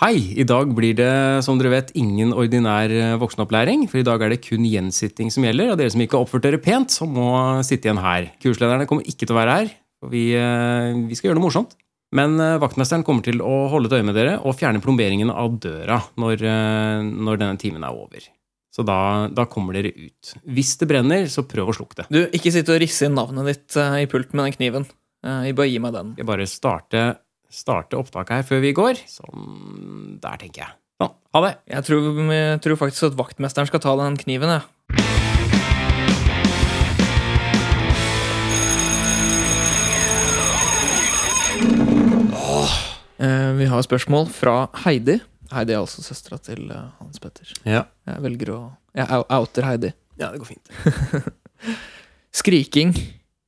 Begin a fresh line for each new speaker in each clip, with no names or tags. Hei! I dag blir det som dere vet, ingen ordinær eh, voksenopplæring. For i dag er det kun gjensitting som gjelder. Og dere som ikke har oppført dere pent, så må sitte igjen her. Kurslederne kommer ikke til å være her. For vi, eh, vi skal gjøre noe morsomt. Men eh, vaktmesteren kommer til å holde et øye med dere og fjerne plomberingen av døra når, eh, når denne timen er over. Så da, da kommer dere ut. Hvis det brenner, så prøv å slukke det.
Du, ikke sitt og risse inn navnet ditt eh, i pult med den kniven. Eh, jeg bare gi meg den.
Jeg bare starte, starte opptaket her før vi går. Sånn Der, tenker jeg. Sånn. Ha det.
Jeg tror, jeg tror faktisk at vaktmesteren skal ta den kniven, jeg. Eh, Vi har spørsmål fra Heidi. Heidi er altså søstera til eh, Hans Petter.
Ja.
Jeg velger å Jeg ou- outer Heidi.
ja, det går fint.
Skriking.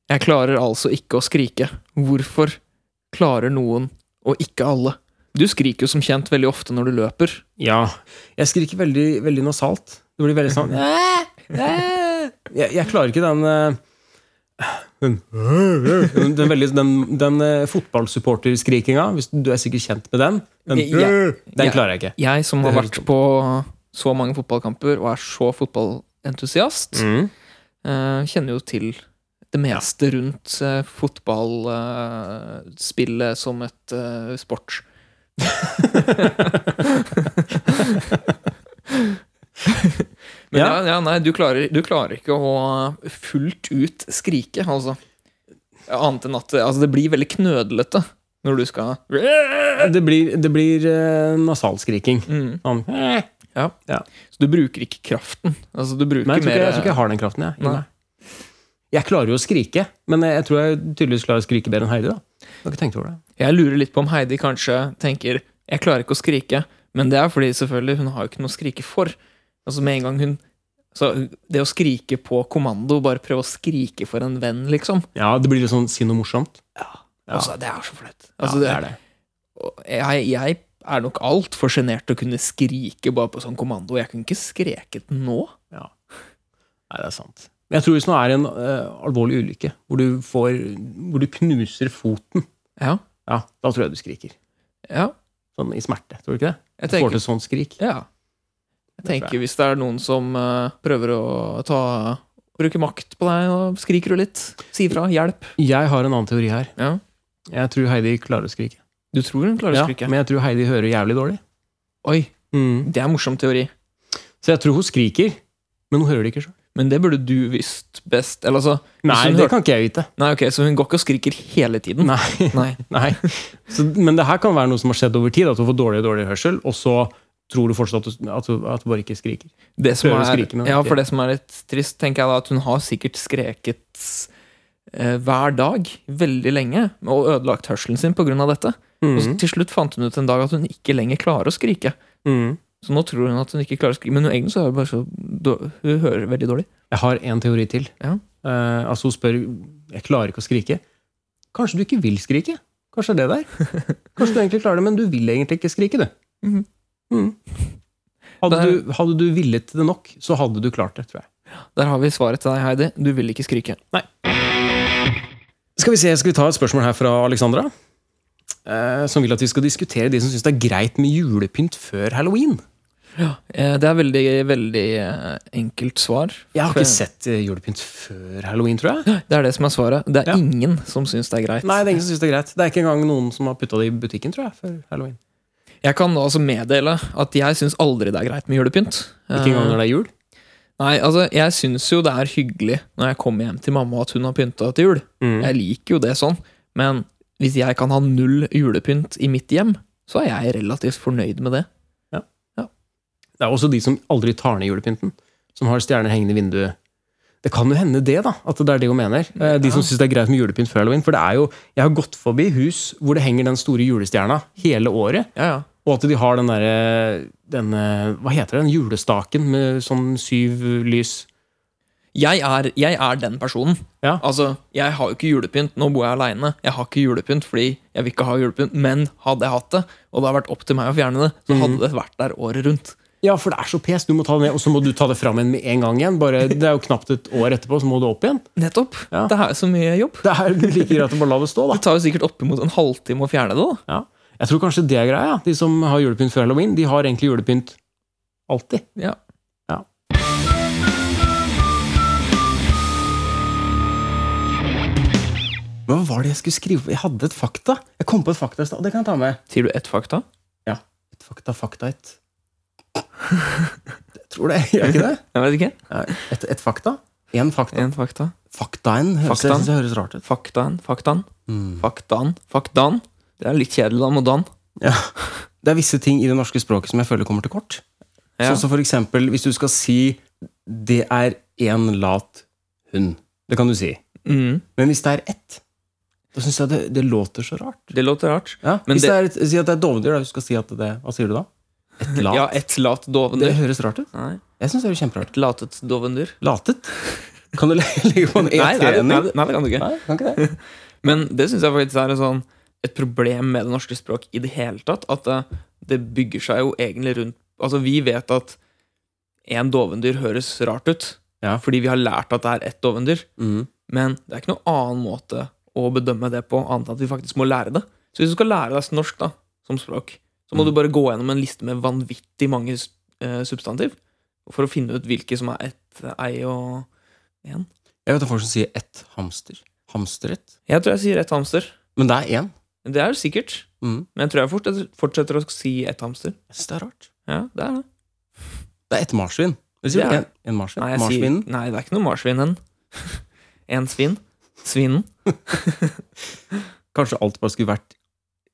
Jeg klarer altså ikke å skrike. Hvorfor klarer noen, og ikke alle? Du skriker jo som kjent veldig ofte når du løper.
Ja. Jeg skriker veldig, veldig nasalt. Det blir veldig sånn jeg, jeg klarer ikke den eh, den, den, veldig, den, den eh, fotballsupporterskrikinga. Hvis du er sikkert kjent med den. Den,
Ja. Ja.
den klarer jeg ikke.
Jeg som har
Det høres
vært på så mange fotballkamper og er så fotballentusiast,
Mm.
eh, kjenner jo til det meste rundt eh, fotballspillet som et eh, sport. Men ja.
Ja.
Ja, nei, du klarer, du klarer ikke å fullt ut skrike, altså. Annet enn at eh, altså, det blir veldig knødlete når du skal
Det blir, det blir eh, nasalskriking.
mm.
Sånn.
Så du bruker ikke kraften. Altså, du bruker
Men jeg tror, ikke,
mer
jeg tror ikke jeg har den kraften. Jeg, i
Nei.
meg. jeg klarer jo å skrike, men jeg tror jeg tydeligvis klarer å skrike bedre enn Heidi. da Jeg har ikke tenkt over det.
Jeg lurer litt på om Heidi kanskje tenker Jeg klarer ikke å skrike, men det er fordi selvfølgelig hun har jo ikke noe å skrike for. Altså med en gang hun Så det å skrike på kommando, bare prøve å skrike for en venn, liksom.
Ja, Det blir litt sånn si noe morsomt. Ja.
Altså, det er så flaut.
Ja,
Altså,
det er
det,
det.
jeg, jeg er nok altfor sjenert til å kunne skrike bare på sånn kommando. Jeg kunne ikke skreket nå.
Nei, det er sant. Men jeg tror hvis det er en eh, alvorlig ulykke hvor du, får, hvor du knuser foten,
Ja,
ja, da tror jeg du skriker.
ja.
Sånn i smerte. Tror du ikke det?
Jeg
Du får
tenker
til sånn skrik.
Ja.
Det
Jeg
tror
tenker hvis det er noen som eh, prøver å ta Bruke makt på deg, og skriker du litt. Si ifra. Hjelp.
Jeg har en annen teori her.
Ja.
Jeg tror Heidi klarer å skrike.
Du tror hun klarer å
Ja,
skrike?
men jeg tror Heidi hører jævlig dårlig. Mm.
Oi, det er en morsom teori.
Så jeg tror hun skriker, men hun hører det ikke sjøl.
Men det burde du visst best. Eller altså
Nei,
hun
det
hørte-
kan ikke jeg vite.
Nei, ok, så hun går ikke og skriker hele tiden?
Nei.
Nei.
Nei. Så, men det her kan være noe som har skjedd over tid. At du får dårligere og dårligere hørsel, og så tror du fortsatt at du, at du, at du bare ikke skriker.
Det som
Prøver å
er,
skrike, men
ja,
ikke-
for det som er litt trist, tenker jeg da, at hun har sikkert skreket eh, hver dag veldig lenge og ødelagt hørselen sin pga. dette. Og
Mm.
så til slutt fant hun ut en dag at hun ikke lenger klarer å skrike.
Mhm.
Så nå tror hun at hun ikke klarer å skrike, men hun egentlig så er det bare så dår- Hun hører veldig dårlig.
Jeg har en teori til.
Ja.
Eh, altså Hun spør jeg klarer ikke å skrike. Kanskje du ikke vil skrike? Kanskje det er det der? Kanskje du egentlig klarer det, men du vil egentlig ikke skrike, du.
Mhm.
Mhm. Hadde,
Det er-
du, hadde du villet det nok, så hadde du klart det, tror jeg.
Der har vi svaret til deg, Heidi. Du vil ikke skrike.
Skal vi se, skal vi ta et spørsmål her fra Alexandra? Eh, som vil at vi skal diskutere de som syns det er greit med julepynt før halloween.
Eh, Det er veldig, veldig eh, enkelt svar.
Jeg har
For-
ikke sett eh, julepynt før halloween, tror jeg.
Det er det som er svaret. Det er
Ja.
ingen som syns det er greit.
Nei, Det er ingen som synes det er greit. Det er ikke engang noen som har putta det i butikken, tror jeg. før halloween.
Jeg kan altså meddele at jeg syns aldri det er greit med julepynt.
Ikke engang når det er jul.
Nei, altså, jeg syns jo det er hyggelig når jeg kommer hjem til mamma at hun har pynta til jul.
Mm.
Jeg liker jo det sånn. Men hvis jeg kan ha null julepynt i mitt hjem, så er jeg relativt fornøyd med det.
Det er også de som aldri tar ned julepynten. Som har stjerner hengende i vinduet. Det kan jo hende det, da. At det er det hun mener. Eh, De som syns det er greit med julepynt før halloween. For det er jo, jeg har gått forbi hus hvor det henger den store julestjerna hele året.
Ja, ja.
Og at de har den derre den, eh, Hva heter det? Den julestaken med sånn syv lys.
Jeg er, jeg er den personen.
Ja.
Altså, Jeg har jo ikke julepynt. Nå bor jeg aleine. Jeg har ikke julepynt fordi jeg vil ikke ha julepynt. Men hadde jeg hatt det, og det har vært opp til meg å fjerne det,
Mm.
så hadde det vært der året rundt.
Ja, for det er så pes. Du må ta det ned, og så må du ta det fram igjen med en gang igjen. Bare, det er jo knapt et år etterpå, så må du opp igjen.
Nettopp.
Ja.
Det er jo så mye jobb.
Det er like greit å bare la det stå, da.
Det tar jo sikkert oppimot en halvtime å fjerne det. da.
Ja. Jeg tror kanskje det er greia. De som har julepynt før halloween, de har egentlig julepynt alltid.
Ja.
Ja. Hva var det jeg skulle skrive? Jeg hadde et fakta. Jeg kom på et fakta i stad. Det kan jeg ta med.
Sier du ett fakta?
Et fakta, fakta, et Jeg tror det. Gjør jeg ikke det?
Jeg vet ikke.
Nei, Et, et fakta? Én fakta.
En fakta.
Faktaen høres,
Faktaen.
jeg synes det høres rart ut.
Faktaen. Faktaen.
Mm.
Faktaen. Faktaen. Det er litt kjedelig da, med Dan.
Ja. Det er visse ting i det norske språket som jeg føler kommer til kort.
Ja.
Sånn som for eksempel hvis du skal si 'det er én lat hund'. Det kan du si.
Mm.
Men hvis det er ett, da syns jeg det, det låter så rart.
Det låter rart.
Ja,
Men
hvis det,
det-
er et, Si at det er dovendyr, da. Du skal si at det Hva sier du da? Et lat?
Ja, et lat
det
dovendyr.
høres rart ut.
Nei,
Jeg syns det er kjemperart.
et latet dovendyr.
Latet? Kan du le- legge på en
Nei, nei, det-
E3-ending?
nei, det- nei, det kan du ikke.
Nei, kan ikke det.
Men det syns jeg faktisk er et sånn, et problem med det norske språk i det hele tatt. At det, det bygger seg jo egentlig rundt Altså, vi vet at én dovendyr høres rart ut,
Ja.
fordi vi har lært at det er ett dovendyr.
Mm.
Men det er ikke noen annen måte å bedømme det på, annet enn at vi faktisk må lære det. Så hvis du skal lære deg norsk da, som språk, så må
Mm.
du bare gå gjennom en liste med vanvittig mange s- eh, substantiv for å finne ut hvilke som er ett, ei og én.
Jeg vet om folk som sier ett hamster. Hamsteret.
Jeg tror jeg sier ett hamster.
Men det er én.
Det er jo sikkert.
Mm.
Men jeg tror jeg fortsetter, fortsetter å si ett hamster.
Jeg syns det er rart.
Ja, det er det.
Det er ett marsvin. Hva sier
Det
du?
er-
En, en marsvin?
Nei, jeg sier,
Marsvinen?
nei det er ikke noe marsvin hen. En svin. Svinen.
Kanskje alt bare skulle vært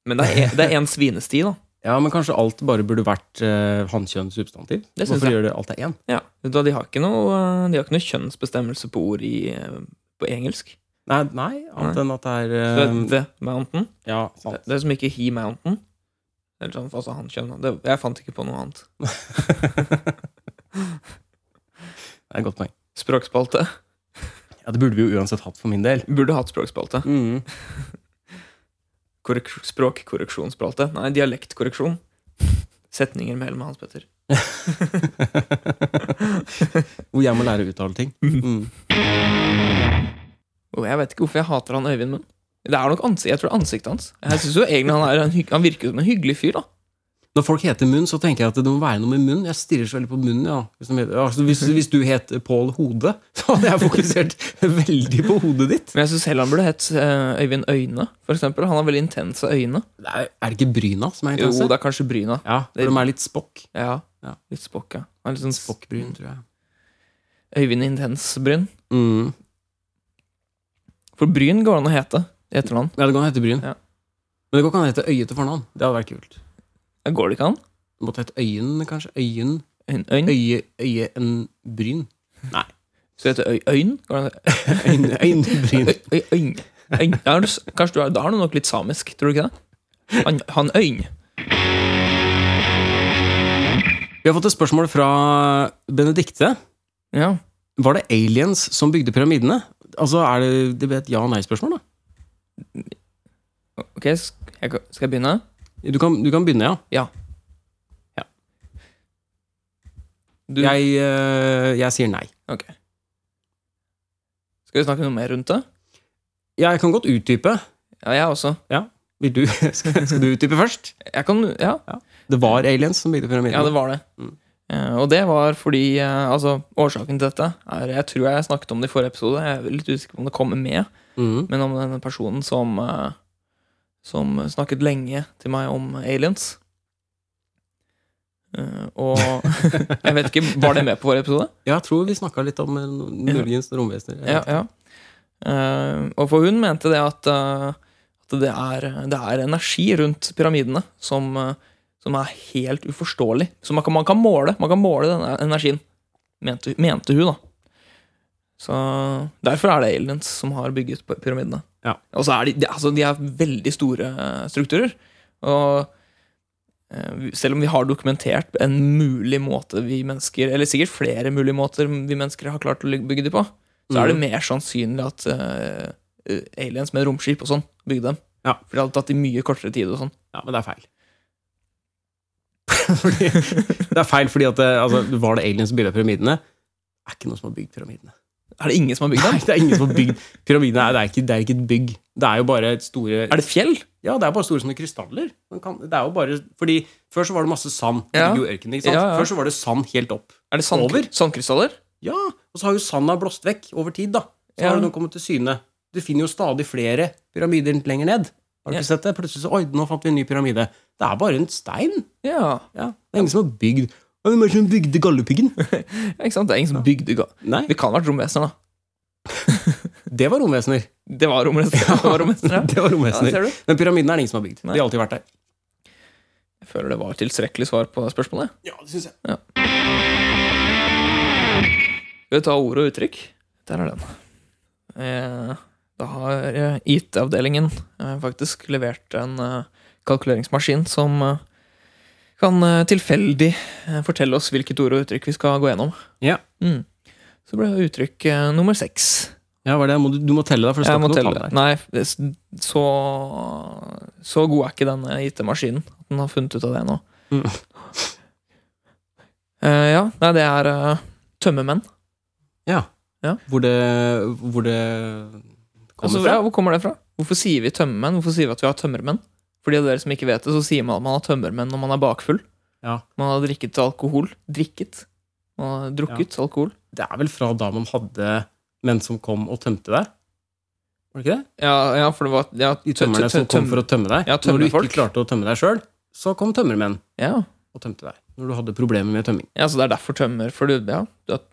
Men det er en- det er én svinesti, da.
Ja, men kanskje alt bare burde vært uh, hannkjønn substantiv?
Det syns
Hvorfor
jeg.
gjør det alt er én?
Ja, vet du hva, de har ikke noe, eh, de har ikke noe kjønnsbestemmelse på ord i, eh, på engelsk.
Nei, nei, annet
Nei.
enn at det
Så
er
det
eh,
er The Mountain.
Ja,
Det
sant.
det er som ikke He Mountain. Eller sånn, altså han kjønn. da. Det, jeg fant ikke på noe annet.
Det er et godt poeng.
Språkspalte.
Ja, Det burde vi jo uansett hatt for min del.
Burde hatt språkspalte.
Mm.
Korrek språkkorreksjonsspalte. Nei, dialektkorreksjon. Setninger med Helme Hans Petter.
Hvor jeg må lære å uttale ting. Mm.
Og jeg vet ikke hvorfor jeg hater han Øyvind Munn. Det er nok ansikt, jeg tror det er ansiktet hans. Jeg synes jo egentlig Han, er en hygg, han virker jo som en hyggelig fyr, da.
Når folk heter Munn, så tenker jeg at det må være noe med munn. Jeg stirrer så veldig på munnen, ja. Hvis, de heter, altså, hvis, hvis du het Pål Hode, så hadde jeg fokusert veldig på hodet ditt.
Men jeg syns heller han burde hett eh, Øyvind Øyne. For eksempel. han har veldig intense øyne.
Det Er er det ikke Bryna som er
Jo,
interesse?
det er kanskje bryna.
Ja, for de er litt spokk.
Ja,
Ja.
litt spokk, ja. Han er litt sånn
Spokkbryn, tror jeg.
Øyvind Intens-Bryn.
Mm.
For Bryn går an å hete i etternavn.
Ja, det går an å hete Bryn.
Ja.
Men det går ikke an å hete Øye til fornavn. Det hadde vært kult.
Ja, Går det ikke an?
Det måtte hete Øyen, kanskje. Øyen.
Øyn? øyn.
Øye, øye en bryn.
Så heter øy, Øyn? Går det an? å-
Øyne, øynebryn.
Øy, øy, øyn. øyn. Ja, har du s- kanskje du har, da har du nok litt samisk, tror du ikke det? Han, han Øyn.
Vi har fått et spørsmål fra Benedikte.
Ja.
Var det aliens som bygde pyramidene? Altså, er det, det blir et ja- og nei-spørsmål, da.
Ok, sk- jeg kan- skal jeg begynne?
Du kan, du kan begynne, ja.
Du,
Jeg, eh, jeg sier nei.
ok. Skal vi snakke noe mer rundt det?
Jeg kan godt utdype.
Ja, jeg også.
Vil du, skal, skal du utdype først?
Jeg kan, ja,
Det var aliens som bygde pyramidene.
Ja, det var det.
Mm.
Eh, og det var fordi eh, altså, Årsaken til dette er Jeg tror jeg snakket om det i forrige episode. Jeg er litt usikker på om det kommer med.
Mhm.
Men om denne personen som eh, Som snakket lenge til meg om aliens. Eh, og jeg vet ikke, Var det med på vår episode?
Jeg tror vi snakka litt om eh, no- muligens romvesener.
Ja, ja. Eh, og for hun mente det at, eh, at det, er, det er energi rundt pyramidene som, eh, som er helt uforståelig. Så man kan, man kan måle Man kan måle denne energien, mente, mente hun, da. Så Derfor er det aliens som har bygget py- pyramidene.
Ja.
Og så er de, de, altså, de er veldig store eh, strukturer. Og Eh, vi- Selv om vi har dokumentert en mulig måte vi mennesker Eller sikkert flere mulige måter vi mennesker har klart å ly- bygge de på, så er det
Mhm.
mer sannsynlig at eh, eh, aliens med romskip og sånn bygde dem.
Ja.
For det hadde tatt i mye kortere tid. og sånn
Ja, men det er feil. fordi, eh, det er feil fordi at det, altså, var det aliens som bygde pyramidene? Det er ikke noen som har bygd pyramidene.
Er det ingen som har bygd den?
Nei, det er ingen som har bygd pyramidene. er- Det er ikke, det er ikke et bygg. Det er jo bare et store
Er det fjell?
Ja, det er bare store sånne krystaller. Man kan, det er jo bare, fordi Før så var det masse sand. Det
Ja.
ligger jo i ørkenen, ikke sant?
Ja, ja.
Før så var det sand helt opp.
Er det sand,
Over?
sandkrystaller?
Ja, Og så har jo sanda blåst vekk over tid. da. Så
Ja.
har det nå kommet til syne. Du finner jo stadig flere pyramider lenger ned. Har du
Ja.
ikke sett det? Plutselig så, oi, nå fant vi en ny pyramide. Det er bare en stein.
Ja.
Ja, Det er ingen som har bygd Ja, Hvem er det som bygde Galdhøpiggen?
ja. Ikke sant? Det er ingen som bygde ga...
Nei,
Det kan ha vært romvesener, da.
det var romvesener.
Det var romvesener. Ja. Det var romvesener, ja.
Det var
Ja,
romvesener.
ser du?
Men pyramiden er det ingen som har bygd.
Nei.
De har alltid vært der.
Jeg føler det var tilstrekkelig svar på spørsmålet.
Ja, det synes jeg.
Skal vi ta ord og uttrykk? Der er den. Eh, Da har eh, IT-avdelingen eh, faktisk levert en eh, kalkuleringsmaskin som eh, kan eh, tilfeldig eh, fortelle oss hvilket ord og uttrykk vi skal gå gjennom.
Ja.
Mm. Så ble det uttrykk eh, nummer seks.
Ja, hva er det? Må Du, du må telle, da. for det
Jeg
skal
må
ikke noe
telle.
tall der.
Nei, det s- så, så god er ikke denne IT-maskinen at den har funnet ut av det nå.
Mm.
Eh, ja, nei, det er eh, tømmermenn.
Ja.
Ja.
Hvor det, hvor det kommer
Altså,
fra?
Ja, hvor kommer det fra? Hvorfor sier vi tømmermenn? Hvorfor sier vi at vi har tømmermenn? For de av dere som ikke vet det, så sier man at man har tømmermenn når man er bakfull.
Ja.
Man har drikket alkohol. Drikket. Man har drukket alkohol.
Det er vel fra da man hadde menn som kom og tømte deg? Var det ikke det?
Ja, ja, for det var ja,
De tømmerne som kom for å tømme deg.
Ja,
Når du ikke
tømmerfolk.
klarte å tømme deg sjøl, så kom tømmermenn
ja.
og tømte deg. Når du hadde problemer med tømming.
ja, så det er derfor tømmer. For, du, ja, du har-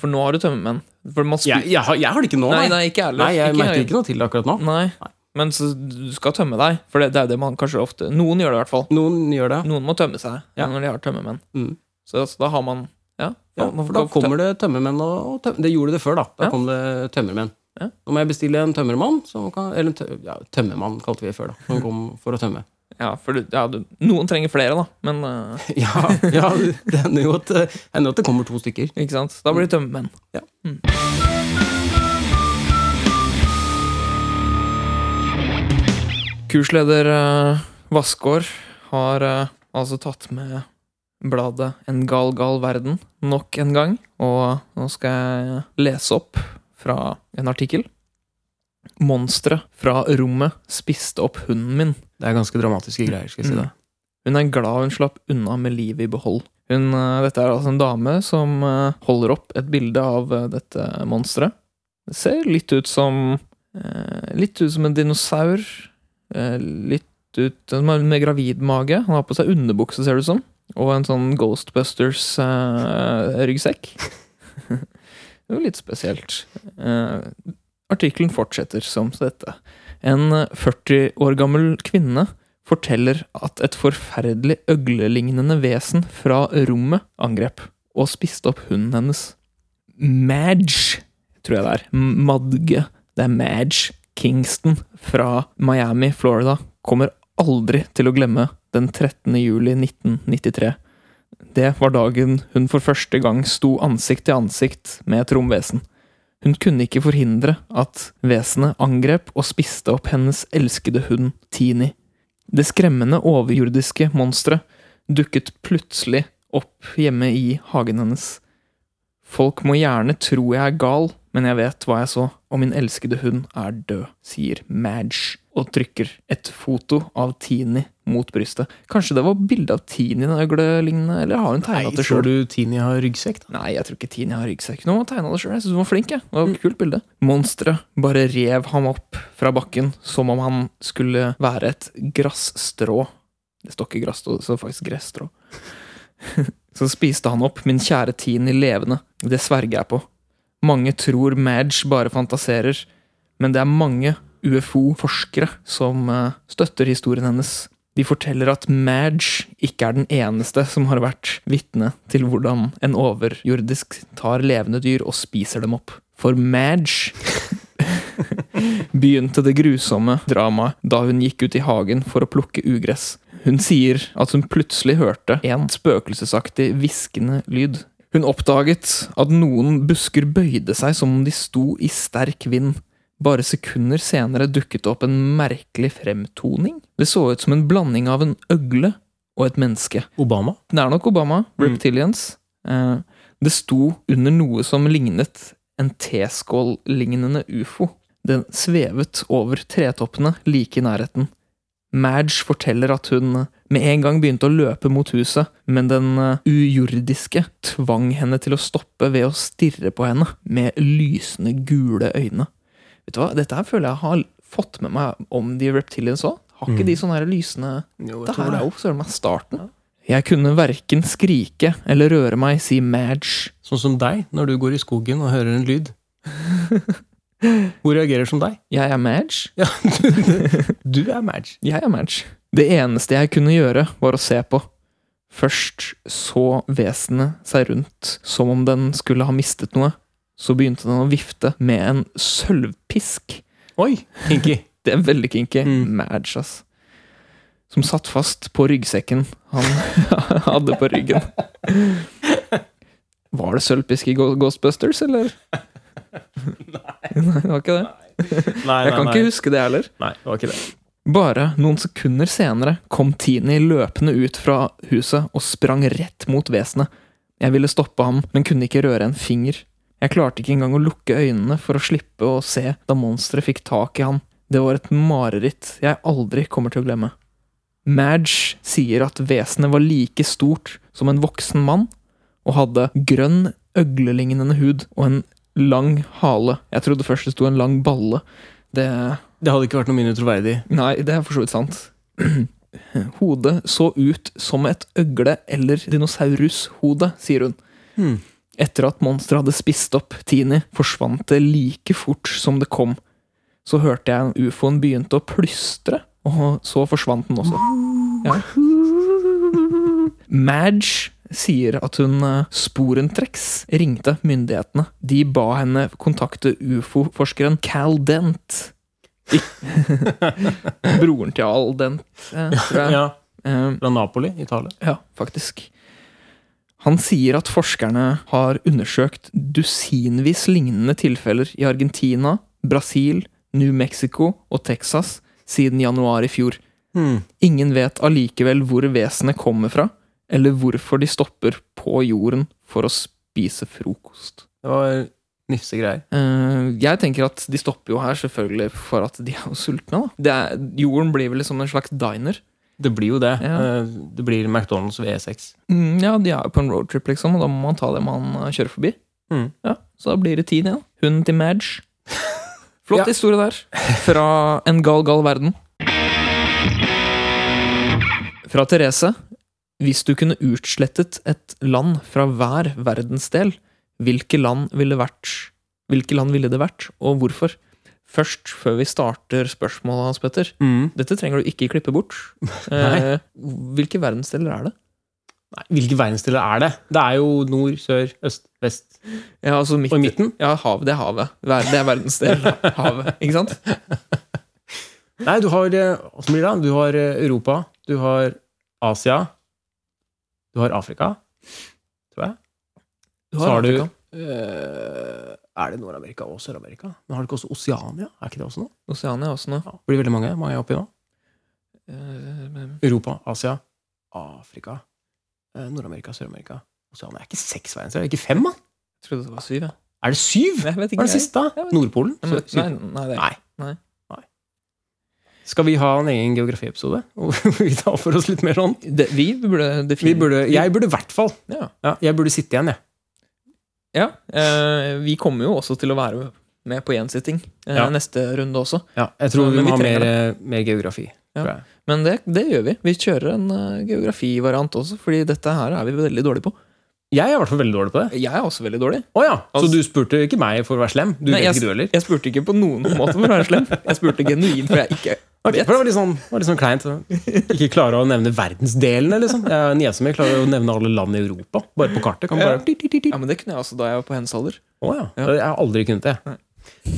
for nå har du tømmermenn. For man spu-
Jeg, jeg, har, jeg har det ikke nå,
Nei,
nei.
nei, ikke ærlig.
Nei, jeg merker ikke noe til det akkurat nå.
Nei.
Nei.
Men så du skal tømme deg, for det, det er jo det man kanskje ofte Noen gjør det i hvert fall.
Noen gjør det.
Noen må tømme seg
Ja.
når de har tømmermenn.
Mm.
Så, så da har man Ja,
Ja,
man-
for da
man-
kommer det tømmermenn og, og tøm... Det gjorde det før, da. Da
Ja.
kom det tømmermenn.
Ja.
Nå må jeg bestille en tømmermann, som kan, eller en tø... ja, tømmermann kalte vi det før, da. Som kom for å tømme.
ja, for du, ja, du, Noen trenger flere, da, men eh,
Ja, ja det hender jo at, hender at det kommer to stykker.
Ikke sant? Da blir det tømmermenn.
Ja.
Mm. Kursleder uh, Vassgård har eh, altså tatt med bladet En gal, gal verden nok en gang. Og eh, nå skal jeg lese opp fra en artikkel. Monstre fra rommet spiste opp hunden min.
Det er ganske dramatiske greier. skal jeg si det.
Mm. Hun er glad hun slapp unna med livet i behold. Hun, eh, dette er altså en dame som eh, holder opp et bilde av eh, dette monsteret. Det ser litt ut som eh, Litt ut som en dinosaur. Eh, litt ut eh, med med gravid mage. Han har på seg underbukse, ser det ut som. Og en sånn Ghostbusters-ryggsekk. det er jo litt spesielt. Eh, artikkelen fortsetter som dette. En eh, 40 år gammel kvinne forteller at et forferdelig øglelignende vesen fra rommet angrep og spiste opp hunden hennes. Madge, tror jeg det er. M- Madge. Det er Madge Kingston fra Miami, Florida. Kommer aldri til å glemme den 13. juli 1993. Det var dagen hun for første gang sto ansikt til ansikt med et romvesen. Hun kunne ikke forhindre at vesenet angrep og spiste opp hennes elskede hund, Tini. Det skremmende overjordiske monsteret dukket plutselig opp hjemme i hagen hennes. Folk må gjerne tro jeg er gal, men jeg vet hva jeg så, og min elskede hund er død, sier Madge og trykker et foto av Tini mot brystet. Kanskje det var bilde av Tini, den øglelignende, eller har hun tegna det sjøl?
tror du Tini har ryggsekk, da?
Nei, jeg tror ikke Tini har ryggsekk. Nå må jeg tegne det selv. Jeg synes hun var flink. jeg. Det var et kult bilde. Monsteret bare rev ham opp fra bakken som om han skulle være et grasstrå. Det står ikke grasstrå, det står faktisk gresstrå. Så spiste han opp min kjære Tini levende. Det sverger jeg på. Mange tror Madge bare fantaserer, men det er mange UFO-forskere som eh, støtter historien hennes. De forteller at Madge ikke er den eneste som har vært vitne til hvordan en overjordisk tar levende dyr og spiser dem opp. For Madge begynte det grusomme dramaet da hun gikk ut i hagen for å plukke ugress. Hun sier at hun plutselig hørte en spøkelsesaktig hviskende lyd. Hun oppdaget at noen busker bøyde seg som om de sto i sterk vind. Bare sekunder senere dukket det opp en merkelig fremtoning. Det så ut som en blanding av en øgle og et menneske.
Obama?
Det er nok Obama,
Mm.
reptilians. Eh, det sto under noe som lignet en teskål-lignende ufo. Den svevet over tretoppene like i nærheten. Madge forteller at hun med en gang begynte å løpe mot huset, men den eh, ujordiske tvang henne til å stoppe ved å stirre på henne med lysende gule øyne. Vet du hva, Dette her føler jeg har fått med meg om de reptilians òg. Har ikke
Mm.
de sånne her lysende
Jo,
det her er jo søren meg starten. Jeg kunne verken skrike eller røre meg, sier Madge.
Sånn som deg, når du går i skogen og hører en lyd. Hvor reagerer som deg?
Jeg er Madge.
Ja, du, du er Madge.
Jeg er Madge. Det eneste jeg kunne gjøre, var å se på. Først så vesenet seg rundt som om den skulle ha mistet noe. Så begynte den å vifte med en sølvpisk.
Oi, Pinky.
Det er veldig kinky.
Mm.
Madge, ass. Som satt fast på ryggsekken han hadde på ryggen. Var det sølvpisk i Go- Ghostbusters, eller? Nei. det var ikke det.
Nei,
Jeg kan ikke huske det heller.
Nei, det var ikke det.
Bare noen sekunder senere kom Tini løpende ut fra huset og sprang rett mot vesenet. Jeg ville stoppe ham, men kunne ikke røre en finger. Jeg klarte ikke engang å lukke øynene for å slippe å se da monsteret fikk tak i ham. Det var et mareritt jeg aldri kommer til å glemme. Madge sier at vesenet var like stort som en voksen mann, og hadde grønn, øglelignende hud og en lang hale. Jeg trodde først det sto en lang balle. Det
Det hadde ikke vært noe mindre troverdig.
Nei, det er for så vidt sant. Hodet så ut som et øgle- eller dinosaurushode, sier hun.
Hmm.
Etter at monsteret hadde spist opp Tini, forsvant det like fort som det kom. Så hørte jeg ufoen begynte å plystre, og så forsvant den også. Ja. Madge sier at hun eh, sporentreks ringte myndighetene. De ba henne kontakte ufo-forskeren Cal Dent. Ik- Broren til Al Dent, eh, tror jeg.
Ja,
Eh,
Fra Napoli, Italia.
ja, faktisk. Han sier at forskerne har undersøkt dusinvis lignende tilfeller i Argentina, Brasil, New Mexico og Texas siden januar i fjor.
Hmm.
Ingen vet allikevel hvor vesenet kommer fra, eller hvorfor de stopper på jorden for å spise frokost.
Det var nifse greier.
Eh, jeg tenker at de stopper jo her selvfølgelig for at de er jo sultne. da. Det er, jorden blir vel som en slags diner.
Det blir jo det.
Ja.
Eh, Det blir McDonald's ved E E6.
Mm, ja, de er jo på en roadtrip, liksom, og da må man ta det man eh, kjører forbi.
Mm.
Ja, Så da blir det tid igjen. Hunden til Madge. Flott
Ja.
historie der. Fra en gal, gal verden. Fra Therese. Hvis du kunne utslettet et land fra hver verdensdel, hvilke land ville, vært, hvilke land ville det vært, og hvorfor? Først, før vi starter spørsmålet, Hans Petter.
Mm.
Dette trenger du ikke klippe bort. Eh, hvilke verdensdeler er det?
Nei, hvilke verdensdeler er det? Det er jo nord, sør, øst, vest
Ja, altså midt,
og i midten.
Ja, havet, det er havet. Ver- Det er verdens del. Havet, ikke sant?
Nei, du har eh, hvordan blir det? da? Du har eh, Europa, du har Asia, du har Afrika
Du
Så har du-
Afrika.
Eh, Er det Nord-Amerika og Sør-Amerika? Men har du ikke også Oseania? Er ikke det også noe?
Oseania også nå.
Ja, det blir veldig mange. mange oppi nå.
Eh,
Europa, Asia, Afrika, eh, Nord-Amerika, Sør-Amerika Oseania. Det er ikke seks verdensdeler, det er ikke fem, mann!
Jeg trodde det var syv, jeg.
Er det syv?
Jeg vet
Hva
ikke.
er det siste?
jeg vet-
Nordpolen?
Nei, men-
Sør- Syd-
nei, nei, det er
Nei.
Nei.
Skal vi ha en egen geografiepisode? Hvor vi tar for oss litt mer sånn?
det, Vi burde
Vi
definere
burde, jeg burde i hvert fall
Ja.
ja, Jeg burde sitte igjen, jeg.
ja eh, vi kommer jo også til å være med på gjensitting eh,
Ja.
neste runde også.
Ja, jeg tror
Ja,
vi
men
må
vi
ha
trenger
mer, eh, mer geografi.
Ja.
Tror jeg.
Men det, det gjør vi. Vi kjører en eh, geografivariant også, Fordi dette her er vi veldig dårlige på.
jeg er i hvert fall veldig dårlig på det.
Jeg er også veldig dårlig.
Å ja, Så
Altså-
du spurte ikke meg for å være slem? Du
Nei,
vet
jeg-
ikke du heller?
Jeg spurte ikke på noen måte for å være slem. Jeg spurte genuint, for jeg ikke
Ok, for det var litt sånn, var litt sånn kleint. Ikke klare å nevne verdensdelene, liksom. Jeg og Niesa mi klarer å nevne alle land i Europa. Bare på kartet. Kan bare...
Ja, men det kunne jeg også da jeg var på hennes alder.
Å ja.
Ja.
Jeg har aldri kunnet det.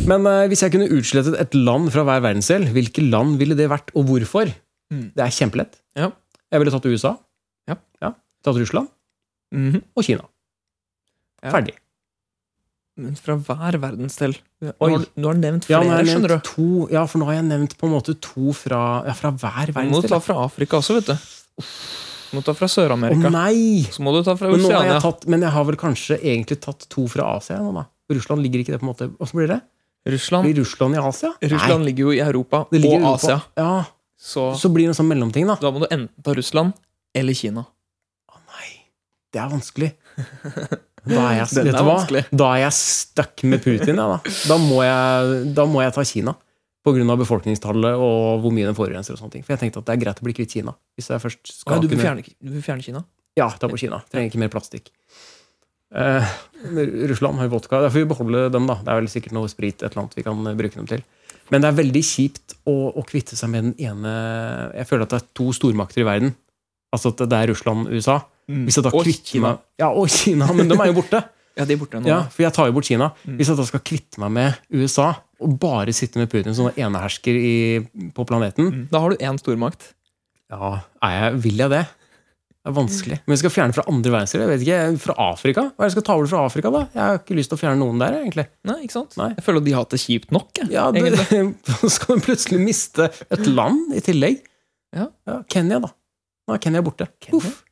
Men eh, hvis jeg kunne utslettet et land fra hver verdensdel, hvilke land ville det vært, og hvorfor?
Mm.
Det er kjempelett.
Ja.
Jeg ville tatt USA.
Ja.
Tatt Russland
Mhm.
og Kina.
Ja.
Ferdig.
Men fra hver verdensdel. Du
Oi.
har, du har nevnt
Ja,
flere,
nå har jeg
skjønner
nevnt
du.
to, ja, for nå har jeg nevnt på en måte to fra, ja, fra hver
Du må
verdensdel.
ta fra Afrika også, vet du. Du må ta fra
Å
Sør-Amerika.
nei!
Så må du ta fra
Men, nå har
Oceania.
jeg tatt, men jeg har vel kanskje egentlig tatt to fra Asia nå, da. Russland ligger ikke det på en måte Åssen blir det?
Russland,
Blir Russland i Asia?
Russland ligger jo i Europa
Nei, det ligger i
og
Europa.
Asia,
Ja,
så
Så blir det en sånn mellomting, da.
da må du enten ta Russland eller Kina.
Å nei, det er vanskelig. Da er jeg,
Den
vet
er
du hva?
vanskelig.
Da er jeg stuck med Putin, ja, da. Da må, jeg, da må jeg ta Kina. Pga. befolkningstallet og hvor mye den forurenser. og sånne ting. For jeg tenkte at det er greit å bli kvitt Kina. hvis jeg først skal
Å, du, vil
kunne-
fjerne, du vil fjerne Kina?
Ja, ta på Kina. Trenger ikke mer plastikk. Eh, Russland har jo vodka. Da får vi beholde dem, da. Det er vel sikkert noe sprit et eller annet vi kan eh, bruke dem til. Men det er veldig kjipt å, å kvitte seg med den ene Jeg føler at det er to stormakter i verden. Altså at det er Russland og USA. Hvis jeg da
Mm. Og
kvitter
Kina.
meg Ja, og Kina. Men de er jo borte.
Ja, de er borte nå.
Ja, for jeg tar jo bort Kina.
Mm.
Hvis jeg da skal kvitte meg med USA og bare sitte med Putin som den ene hersker i, på planeten,
Mm. Da har du én stormakt.
ja, er jeg, vil jeg det? Det er vanskelig. Men jeg skal fjerne fra andre verdenskrig? Jeg vet ikke, Fra Afrika? Hva er det jeg skal ta over fra Afrika, da? Jeg har ikke lyst til å fjerne noen der, egentlig.
Nei, ikke sant?
Nei.
Jeg føler at de har hatt det kjipt nok. Jeg.
Ja, du,
egentlig.
Så skal du plutselig miste et land i tillegg.
Ja.
Kenya, da. Nå er Kenya borte.
Kenya?
Uff.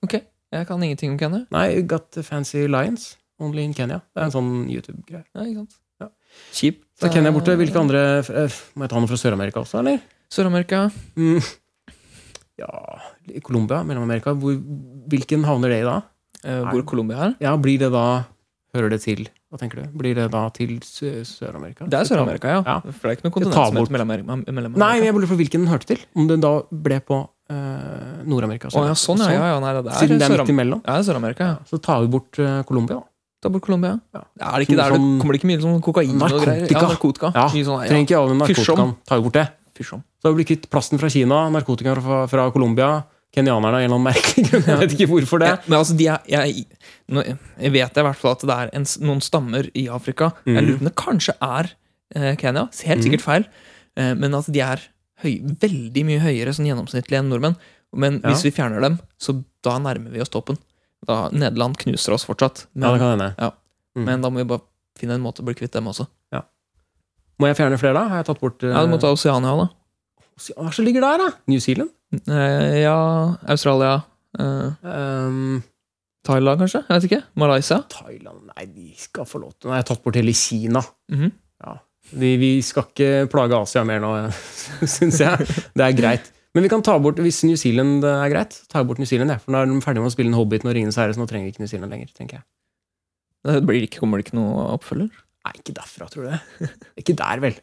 Ok, jeg kan ingenting om Kenya.
Nei, Got Fancy Lions. Only in Kenya. Det er en sånn YouTube-greie.
Nei, ikke sant?
Ja.
Kjipt.
Så er Kenya borte.
eh,
Hvilke andre eh, Må jeg ta noe fra Sør-Amerika også, eller?
Sør-Amerika.
Mm. Ja Colombia, Mellom-Amerika. Hvor, hvilken havner det i da?
eh,
Nei.
hvor Colombia er.
Ja, Blir det da Hører det til Hva tenker du? Blir det da til Sø- Sør-Amerika?
Det er Sør-Amerika, ja.
Ja.
For det er ikke noe
Jeg tar
kontinent som
bort-
heter Mellom-Amerika. Mellom
Nei, men jeg lurer på hvilken den hørte til. Om den da ble på eh, Nord-Amerika.
Å ja, sånn, ja. ja, ja nei, det er
Siden det er midt
Sør-Am-
imellom.
Ja, det er Sør-Amerika. Ja.
Så tar vi bort eh, Colombia, da.
Ta bort Colombia.
Ja.
Er det ikke
Mye
der det
sånn-
kommer det ikke mye sånn kokain og greier? Ja,
Narkotika.
narkotika.
Ja,
Mye sånn, ja.
Trenger ikke alle narkotikaen. Tar vi bort det.
Fysj om.
Så da blir kvitt plasten fra Kina, narkotikaen fra, fra Colombia, kenyanerne av en eller annen merkelig grunn. Jeg vet ikke hvorfor det.
Ja, men altså, de er, jeg, nå, jeg vet i hvert fall at det er en, s- noen stammer i Afrika. Jeg
Mhm.
lurer på om det kanskje er eh, Kenya. Helt sikkert feil. Eh, men at de er høy, veldig mye høyere sånn gjennomsnittlig enn nordmenn. Men
Ja.
hvis vi fjerner dem, så da nærmer vi oss toppen. Da Nederland knuser oss fortsatt.
Ja, det
Men,
kan hende. kan-
men da må vi bare finne en måte å bli kvitt dem også.
Må jeg fjerne flere, da? Har jeg tatt bort eh,
Ja, Du må ta Oceania, da.
Osean- Hva er det som ligger der, da? New Zealand?
Eh, ja, Australia. Eh,
Ehm,
Thailand, kanskje? Jeg vet ikke. Malaysia?
Thailand Nei, de skal få lov til Nå har jeg tatt bort hele Kina.
Mhm.
Vi, vi skal ikke plage Asia mer nå, syns jeg. Det er greit. Men vi kan ta bort, hvis New Zealand er greit, så tar jeg bort New Zealand. jeg, For nå er de ferdig med å spille en Hobbiten og Ringenes herre, så nå trenger vi ikke New Zealand lenger. tenker jeg.
Det blir ikke, kommer det ikke noe oppfølger?
Nei, ikke derfra, tror du det? Ikke der, vel?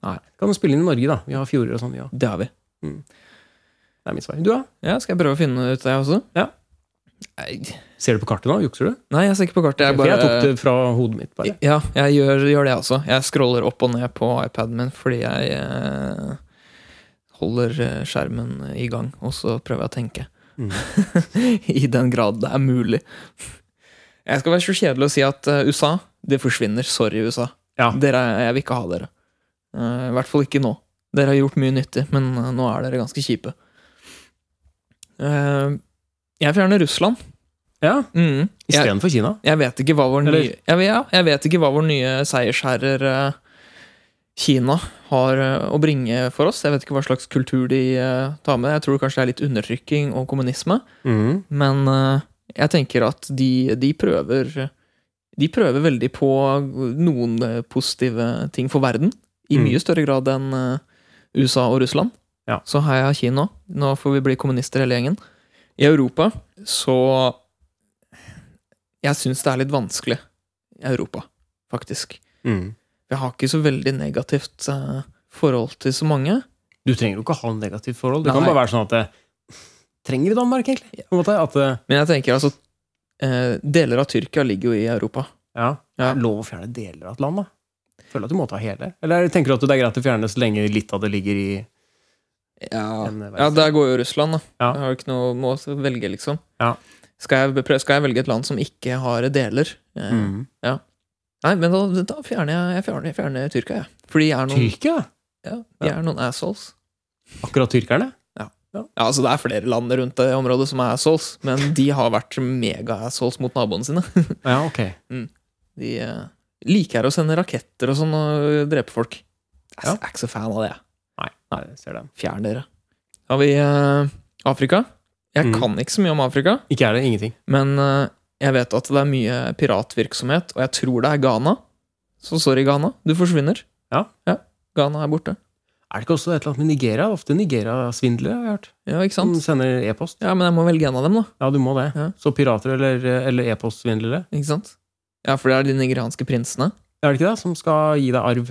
Nei.
Kan du spille inn i Norge, da? Vi har fjorder og sånn. Ja.
Det har vi.
Det er mitt svar. Du, da?
Ja, Skal jeg prøve å finne ut det, jeg også?
Ja.
Nei,
Ser du på kartet nå? Jukser du?
Nei, jeg ser ikke på kartet. Jeg
For
bare
jeg tok det fra hodet mitt, bare.
Ja, jeg gjør, gjør det, jeg også. Jeg scroller opp og ned på iPaden min fordi jeg eh, holder eh, skjermen i gang, og så prøver jeg å tenke.
Mm.
I den grad det er mulig. Jeg skal være så kjedelig å si at eh, USA, det forsvinner. Sorry, USA.
Ja.
Dere, jeg vil ikke ha dere. Eh, I hvert fall ikke nå. Dere har gjort mye nyttig, men eh, nå er dere ganske kjipe. Eh, jeg fjerner Russland.
Ja,
Mm. Jeg-
Istedenfor Kina.
jeg vet ikke hva vår
Eller-
nye, jeg, vet- ja, jeg vet ikke hva vår nye seiersherrer eh, Kina har eh, å bringe for oss. Jeg vet ikke hva slags kultur de eh, tar med. Jeg tror kanskje det er litt undertrykking og kommunisme.
Mhm.
Men eh, jeg tenker at de, de prøver De prøver veldig på noen eh, positive ting for verden. I
Mm.
mye større grad enn eh, USA og Russland.
Ja.
Så heia Kina. Nå får vi bli kommunister hele gjengen. I Europa så Jeg syns det er litt vanskelig. i Europa, faktisk.
Mhm.
Jeg har ikke så veldig negativt eh, forhold til så mange.
Du trenger jo ikke ha noe negativt forhold. Det kan
Nei.
bare være sånn at det, Trenger vi Danmark, egentlig? På en måte, at det,
Men jeg tenker altså eh, Deler av Tyrkia ligger jo i Europa.
ja.
Ja.
er det lov å fjerne deler av et land, da? Føler at du må ta hele. Eller tenker du at det er greit å fjerne så lenge litt av det ligger i
Ja,
en eh, verden?
Ja, der går jo Russland, da.
Ja.
Jeg har jo ikke noe må også velge, liksom.
Ja.
Skal, jeg, prø- skal jeg velge et land som ikke har deler? Eh,
Mm.
Nei, men da, da fjerner jeg, jeg fjerner, jeg fjerner Tyrkia, jeg. Fordi jeg er noen,
Tyrkia?
ja, de er noen assholes.
Akkurat tyrkerne?
Ja, altså Det er flere land rundt det området som er assholes, men de har vært mega-assholes mot naboene sine.
Ja, ok.
De eh, liker å sende raketter og sånn og drepe folk. Jeg er
Ja.
ikke så fan av det. jeg.
Nei, nei jeg ser den.
Fjern dere. Har vi eh, Afrika? Jeg
Mm.
kan ikke så mye om Afrika.
Ikke er det ingenting.
Men eh, Jeg vet at det er mye piratvirksomhet, og jeg tror det er Ghana. Så sorry, Ghana. Du forsvinner.
Ja.
Ghana er borte.
Er det ikke også et eller annet med Nigeria? Ofte Nigeria-svindlere, har jeg hørt.
Ja, ikke
Som
sant?
sender e-post.
Ja, men jeg må velge en av dem, da.
Ja, du må det.
Ja.
Så pirater eller, eh, eller e-postsvindlere.
Ikke sant? Ja, for det er de nigerianske prinsene.
Er det ikke det? Som skal gi deg arv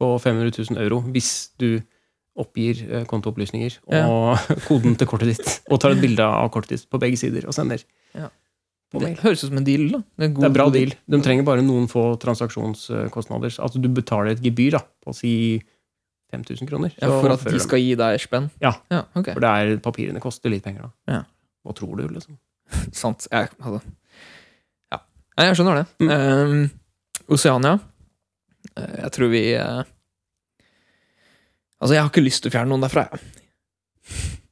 på 500 000 euro hvis du oppgir eh, kontoopplysninger og koden til kortet ditt. Og tar et bilde av kortet ditt på begge sider og sender.
Ja.
På
Det
mail.
høres ut som en deal, da. Det er, en god-
Det er bra deal. De trenger bare noen få transaksjonskostnader. Altså du betaler et gebyr da, på si 5000 kroner.
Ja, for at
overfører
de
dem.
skal gi deg spenn?
Ja.
ja ok.
For det er, papirene koster litt penger, da.
Ja.
Hva tror du, liksom?
Sant. Jeg, altså. ja. Nei, jeg skjønner det.
Mm.
Ehm, Oceania Eh, Jeg tror vi eh, Altså, jeg har ikke lyst til å fjerne noen derfra, jeg.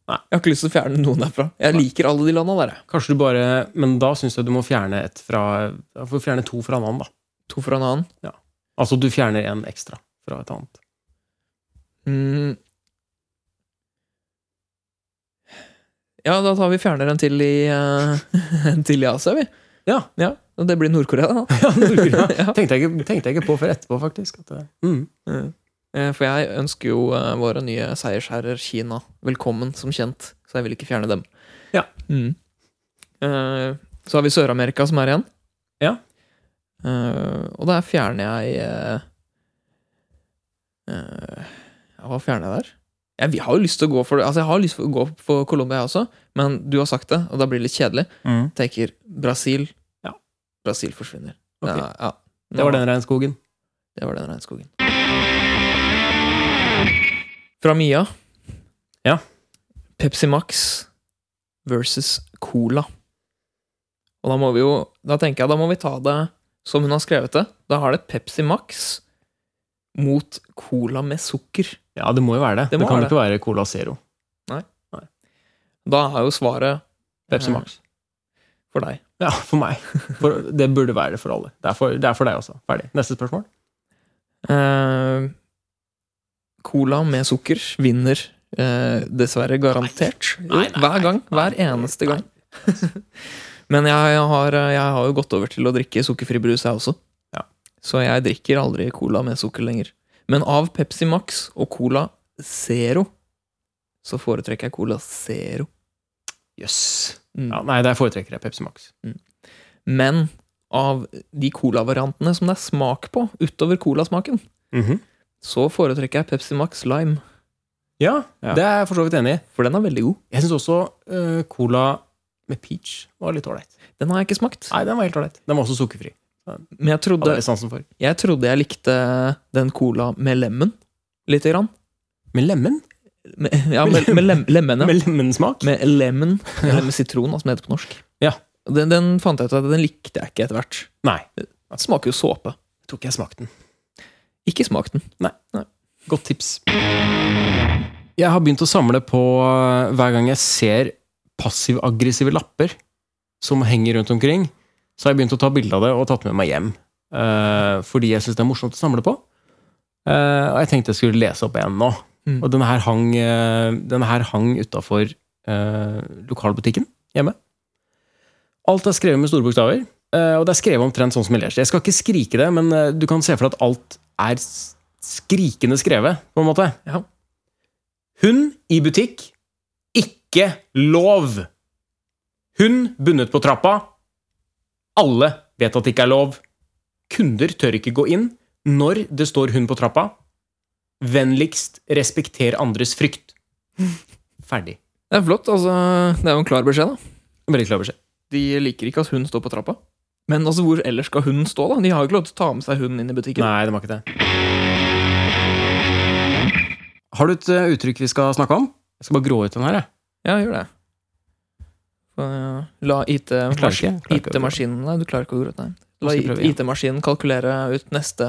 Jeg har ikke lyst til å fjerne noen derfra. Jeg
Nei.
liker alle de landa der. jeg.
Kanskje du bare Men da syns jeg du må fjerne et fra Du får fjerne to fra en annen, da.
To for en annen.
Altså du fjerner en ekstra fra et annet.
Mm. Ja, da tar vi fjerner en til i, eh, en til i Asia, vi.
Ja.
ja. og Det blir Nord-Korea, da.
Ja, Nord-Korea.
Ja.
tenkte, jeg ikke, tenkte jeg ikke på før etterpå, faktisk. At det, mm.
Eh, For jeg ønsker jo eh, våre nye seiersherrer Kina velkommen, som kjent. Så jeg vil ikke fjerne dem.
Ja.
Mm. Eh, Så har vi Sør-Amerika som er igjen.
Ja.
Eh, Og der fjerner jeg eh, eh, ja, Hva fjerner jeg der? Jeg vi har jo lyst til å gå for det. Altså, jeg har lyst til å gå for Colombia, jeg også, men du har sagt det, og da blir det litt kjedelig. Jeg tenker Brasil.
Ja.
Brasil forsvinner.
Ok.
Ja, ja.
Det var den regnskogen.
Det var den regnskogen. Fra Mia.
Ja.
Pepsi Max versus Cola. Og da må vi jo Da tenker jeg da må vi ta det som hun har skrevet det. Da har det Pepsi Max mot Cola med sukker.
Ja, det må jo være det.
Det
Det,
må
kan jo
være
ikke være Cola Zero.
Da er jo svaret
Pepsi
eh,
Max.
for deg.
Ja, for meg. For, det burde være det for alle. Det er for, det er for deg også. Ferdig. Neste spørsmål.
Eh, cola med sukker vinner eh, dessverre garantert. Jo,
Nei, nei,
hver gang.
nei,
Hver
nei,
eneste
nei.
gang. Men jeg, jeg, har, eh, jeg har jo gått over til å drikke sukkerfri brus, jeg også.
Ja.
Så jeg drikker aldri cola med sukker lenger. Men av Pepsi Max og Cola Zero så foretrekker jeg Cola Zero.
Jøss. Yes.
Mm.
Ja, nei, der foretrekker jeg Pepsi Max.
Men av de colavariantene som det er smak på utover colasmaken,
Mhm.
så foretrekker jeg Pepsi Max Lime.
ja,
Ja.
det er jeg for så vidt enig i.
For den er veldig god.
Jeg syns også eh, Cola med peach var litt ålreit.
Den har jeg ikke smakt.
Nei, den var helt ålreit. Den var også sukkerfri.
Men jeg
Hadde
trodde,
jeg sansen for.
jeg trodde jeg likte den cola med lemon. Lite grann.
Med lemen?
Med, ja, med, med lem, lemon, ja.
Med lemensmak?
Med lemon, eller med sitron, da, som det heter på norsk.
Ja.
Og Den, den fant jeg ut at den likte jeg ikke etter hvert.
Nei.
Den smaker jo såpe.
Jeg tror ikke jeg smakte den.
Ikke smak den.
Godt tips. Jeg har begynt å samle på eh, hver gang jeg ser passiv-aggressive lapper som henger rundt omkring, så har jeg begynt å ta bilde av det og tatt med meg hjem. Eh, fordi jeg syns det er morsomt å samle på. Eh, og jeg tenkte jeg skulle lese opp en nå.
Mm.
Og denne her hang, eh, denne her hang utafor eh, lokalbutikken hjemme. Alt er skrevet med store bokstaver, eh, og det er skrevet omtrent sånn som jeg leser. Jeg skal ikke skrike det, men eh, du kan se for deg at alt er s- skrikende skrevet, på en måte.
Ja.
Hund i butikk. Ikke lov! Hund bundet på trappa. Alle vet at det ikke er lov. Kunder tør ikke gå inn når det står hund på trappa. Vennligst respekter andres frykt. Ferdig.
Det er flott. altså, Det er jo en klar beskjed. da.
Veldig klar beskjed.
De liker ikke at hunden står på trappa. Men altså, hvor ellers skal hunden stå? da? De har jo ikke lov til å ta med seg hunden inn i butikken.
Nei, det var ikke det. Har du et eh, uttrykk vi skal snakke om? Jeg skal bare grå ut den her. jeg.
Ja, gjør det. Så, ja, La IT
klarer ikke, jeg klarer ikke å
IT-maskinen Nei, du klarer ikke å ordre det. La
Jeg skal prøve igjen.
IT-maskinen kalkulere ut neste,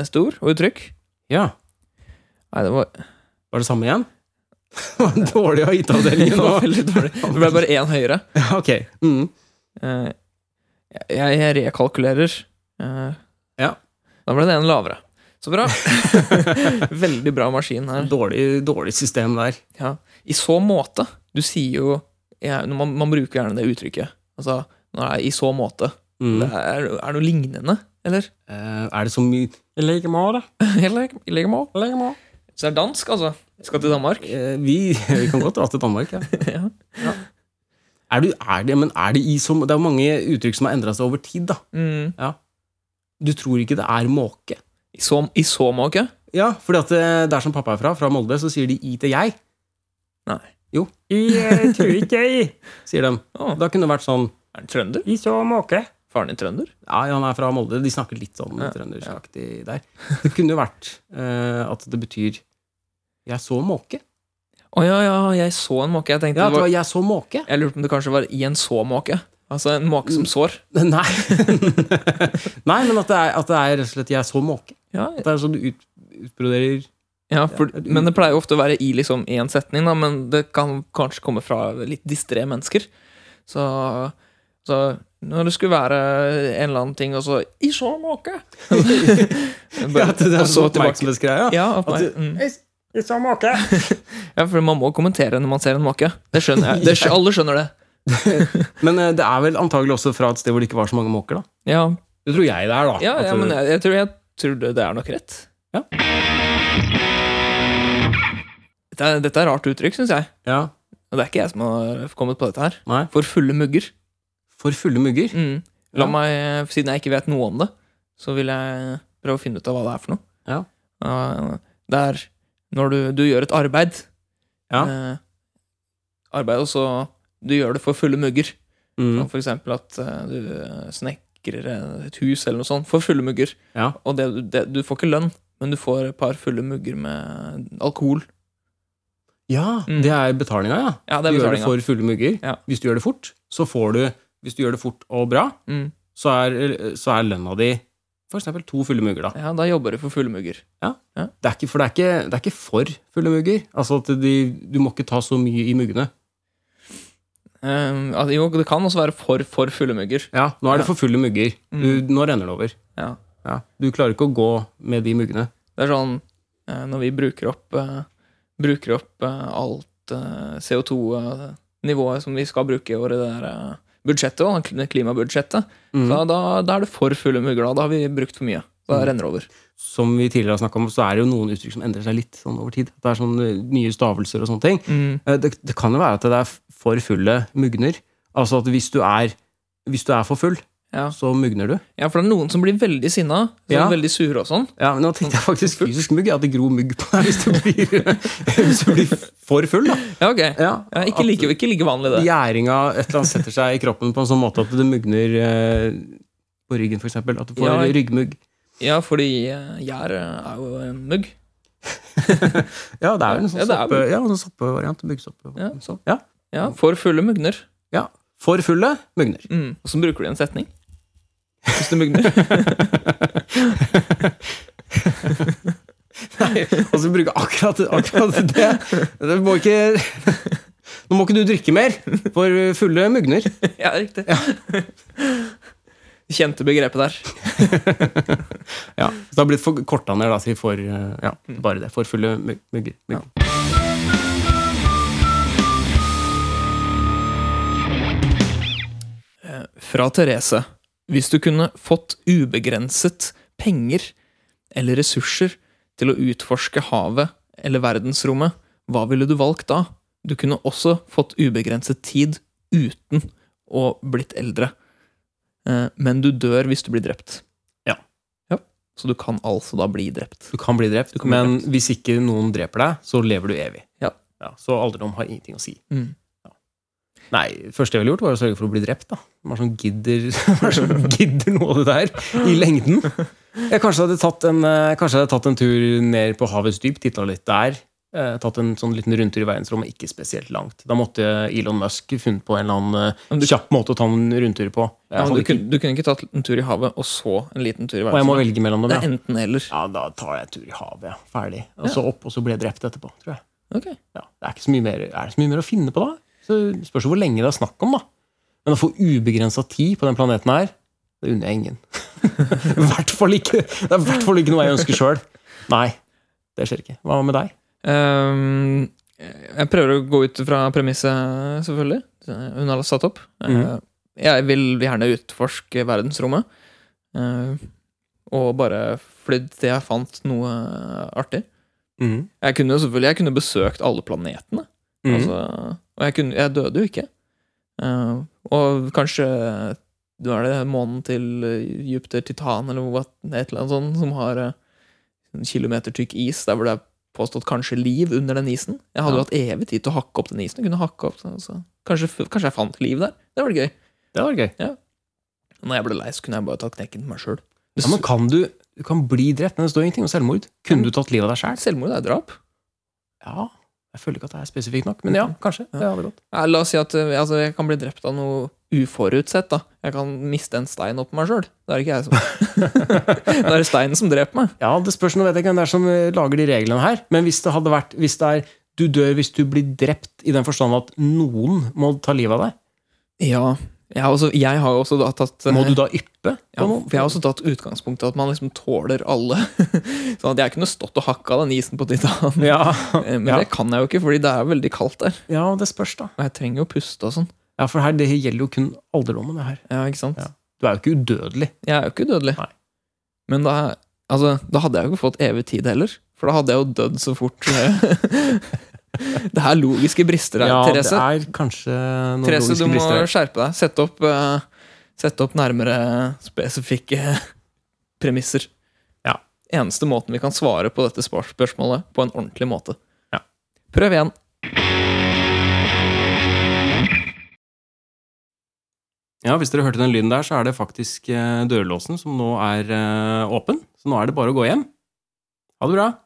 neste ord og uttrykk.
Ja.
Nei, det var,
Var det samme igjen? Det var dårlig av IT-avdelingen
det var
nå.
veldig dårlig. Det ble bare én høyere.
Ja, Ok. Mm.
Eh, Jeg, jeg rekalkulerer. Eh,
Ja.
Da ble det en lavere. Så bra. Veldig bra maskin her.
Dårlig, dårlig system der.
Ja. I så måte. Du sier jo jeg, når man, man bruker gjerne det uttrykket. Altså, Nei, I så måte. Det
Mm.
er, er det noe lignende, eller?
Eh, er det så mye I like måte.
eller jeg legger meg opp.
I like måte.
Så det er dansk, altså. Skal til Danmark.
Eh, vi, vi kan godt dra til Danmark, ja.
ja.
Er du, er det, men er det i som Det er jo mange uttrykk som har endra seg over tid, da.
mm.
Du tror ikke det er måke.
I så, i så måte.
Ja, fordi at eh, der som pappa er fra, fra Molde, så sier de i til jeg.
Nei.
Jo. I eh, tror ikke jeg, sier de.
Å,
Da kunne det vært sånn
er han trønder?
I så måke.
Faren din trønder?
Ja, han er fra Molde. De snakker litt sånn
Ja,
trønderskaktig der. Det kunne jo vært eh, at det betyr jeg så måke.
Å ja, ja, jeg så en måke. Jeg tenkte
Ja,
det
det
var,
var jeg så måke.
Jeg lurte på om det kanskje var i en så måke. Altså en måke som sår.
Nei. Nei, men at det, er, at det er rett og slett jeg så måke.
Ja,
At det er sånn du ut, utbroderer
ja, for,
Ja, et-
Men det pleier jo ofte å være i liksom én setning, da, men det kan kanskje komme fra litt distré mennesker. Så, så når det skulle være en eller annen ting, og så I så måke!
Ja,
Bare-
at det er
og så
sånn
tilbake.
oppmerksomhetsgreie. Ja.
Ja, at
At
nei,
du-
mm.
I så måke.
ja, for man må kommentere når man ser en måke. Det skjønner jeg. Det, skj- alle skjønner det.
Men eh, det er vel antagelig også fra et sted hvor det ikke var så mange måker, da.
Ja,
Det tror jeg det er, da.
ja,
At
ja
det-
men jeg, jeg, tror, jeg tror det, det er nok rett.
Ja.
Dette er, dette er rart uttrykk, syns jeg.
ja.
Og det er ikke jeg som har kommet på dette her.
Nei.
For fulle mugger.
For fulle mugger.
Mm. La
Ja.
meg, Siden jeg ikke vet noe om det, så vil jeg prøve å finne ut av hva det er for noe.
Ja.
Eh, Det er når du, du gjør et arbeid.
Ja.
Eh, arbeid, og så du gjør det for fulle mugger.
Mm.
Som For eksempel at eh, du snekrer et hus eller noe sånt for fulle mugger.
Ja.
Og det, det, du får ikke lønn, men du får et par fulle mugger med alkohol.
Ja,
Mm.
det er betalinga, ja.
Ja,
Du
det er
gjør det
betalinga.
for fulle mugger.
Ja.
Hvis du gjør det fort, så får du Hvis du gjør det fort og bra,
Mm.
så er, så er lønna di for eksempel to fulle mugger, da.
Ja, da jobber du for fulle mugger.
Det er ikke, for det er ikke, det er ikke for fulle mugger. Altså at de, du må ikke ta så mye i muggene.
Eh, altså, jo, det kan også være for, for fulle mugger.
Ja, Nå er det
Ja.
for
Mm.
fulle mugger. Du, Nå renner det over.
Ja.
Ja. Du klarer ikke å gå med de muggene.
Det er sånn eh, når vi bruker opp, eh, bruker opp eh, alt eh, CO2-nivået som vi skal bruke i året, det der eh, budsjettet, da, kl- klimabudsjettet,
Mm.
da, da, da er det for fulle mugger. Da, da har vi brukt for mye. Da
Mm.
renner det over.
Som vi tidligere har snakka om, så er det jo noen uttrykk som endrer seg litt sånn over tid. Det er sånne nye stavelser og sånne ting.
Mm.
Eh, Det, det kan jo være at det er for fulle mugner. Altså at hvis du er, hvis du er for full,
Ja.
så mugner du.
Ja, for det er noen som blir veldig sinna, sånn
Ja.
veldig sure og sånn.
Ja, men Nå tenkte jeg faktisk fysisk mugg. ja, At det gror mugg på deg hvis du blir, hvis du blir for full. da.
Ja, ok.
Ja,
Ja, ikke, like, ikke like vanlig,
At
det.
gjæringa et eller annet setter seg i kroppen på en sånn måte at det mugner eh, på ryggen, f.eks. At du får
Ja.
ryggmugg.
Ja, fordi eh, gjær eh, er jo en mugg.
Ja, det er jo en sånn
Ja, det er
soppe, ja, en soppevariant. Muggsoppe.
Ja.
Sånn. Ja.
Ja, for fulle mugner.
ja. For fulle mugner.
Mm. Og så bruker du en setning. Hvis du mugner.
Og så bruke akkurat, akkurat det. det må ikke, nå må ikke du drikke mer for fulle mugner.
Ja, riktig. Kjente begrepet der.
Ja, så det har blitt for korta ned, da, si for eh, ja, bare det. For fulle mugger. mugger.
Ja. Fra Therese. Hvis du kunne fått ubegrenset penger eller ressurser til å utforske havet eller verdensrommet, hva ville du valgt da? Du kunne også fått ubegrenset tid uten å blitt eldre. Eh, Men du dør hvis du blir drept.
Ja.
ja. Så du kan altså da bli drept.
Du kan bli drept,
kan bli
men
drept.
hvis ikke noen dreper deg, så lever du evig.
Ja.
så alderdom har ingenting å si.
Mm.
Nei, det første jeg ville gjort, var å sørge for å bli drept. da. Hvem er det som gidder, hvem er det som gidder noe av det der i lengden? Jeg kanskje hadde tatt en, eh, kanskje hadde tatt en tur ned på havets dyp, titta litt der. eh, Tatt en sånn liten rundtur i verdensrommet, ikke spesielt langt. Da måtte Elon Musk funnet på en eller annen eh,
Men du-
kjapp måte å ta en rundtur på.
Ja,
Jeg
men
hadde
du,
ikke,
kunne, du kunne ikke tatt en tur i havet og så en liten tur i
og jeg må
verden?
velge mellom dem. ja.
Det er enten eller.
Ja, da tar jeg en tur i havet. ja. Ferdig. Og så opp, og så ble jeg drept etterpå, tror jeg.
Ok.
Ja, det er, ikke så mye mer, er det så mye mer å finne på, da? Så det Spørs jo hvor lenge det er snakk om, da. Men å få ubegrensa tid på den planeten her, det unner jeg ingen. I hvert fall ikke Det er i hvert fall ikke noe jeg ønsker sjøl. Nei. Det skjer ikke. Hva med deg?
Ehm, jeg prøver å gå ut fra premisset, selvfølgelig. Hun har satt opp.
Mhm.
Eh, Jeg vil gjerne utforske verdensrommet. eh, Og bare flydd til jeg fant noe artig.
Mhm.
Jeg kunne jo selvfølgelig jeg kunne besøkt alle planetene.
Mhm.
Altså, og jeg, kunne, jeg døde jo ikke. Eh, og kanskje Nå er det månen til eh, Jupiter Titan eller hva, et eller annet sånt som har eh, en kilometer tykk is der hvor det er påstått kanskje liv under den isen. Jeg hadde
Ja.
jo hatt evig tid til å hakke opp den isen. Jeg kunne hakke opp den, altså. kanskje, f- kanskje jeg fant liv der. Det var gøy.
Det var gøy.
Når jeg ble lei, så kunne jeg bare tatt knekken på meg sjøl.
Ja, men kan du, du kan bli drept, men det står ingenting om selvmord. Kunne du tatt livet av deg sjæl?
Selvmord er drap.
Ja. Jeg føler ikke at det er spesifikt nok, men Mm. ja, kanskje. Det hadde gått.
Ja, La oss si at eh, altså, jeg kan bli drept av noe uforutsett. da Jeg kan miste en stein oppå meg sjøl. Da er det ikke jeg som Da er det steinen som dreper meg.
Ja, det spørs, nå vet jeg ikke hvem det er som eh, lager de reglene her, men hvis det hadde vært hvis det er du dør hvis du blir drept i den forstand at noen må ta livet av deg,
Ja, jeg har, også, jeg har jo også da tatt eh,
må du da yppe?
ja, for jeg har også tatt utgangspunktet at man liksom tåler alle. sånn at jeg kunne stått og hakka den isen på Titan.
ja.
Eh, Men
ja.
det kan jeg jo ikke, fordi det er veldig kaldt der.
ja, det spørs, da.
Og jeg trenger jo puste og sånn.
Ja, For her, det gjelder jo kun alderdommen. det her.
Ja, ikke sant?
Ja. Du er jo ikke udødelig.
Jeg er jo ikke dødelig.
Nei.
Men da, altså, da hadde jeg jo ikke fått evig tid heller. For da hadde jeg jo dødd så fort. det er logiske brister her,
Ja, det
Therese.
er kanskje noen
Therese, du
logiske
må
brister her.
skjerpe deg. Sette opp, eh, sette opp nærmere spesifikke premisser.
Ja.
Eneste måten vi kan svare på dette spør- spørsmålet på en ordentlig måte.
Ja.
Prøv igjen.
Ja, Hvis dere hørte den lyden der, så er det faktisk eh, dørlåsen som nå er eh, åpen. Så nå er det bare å gå hjem. Ha det bra.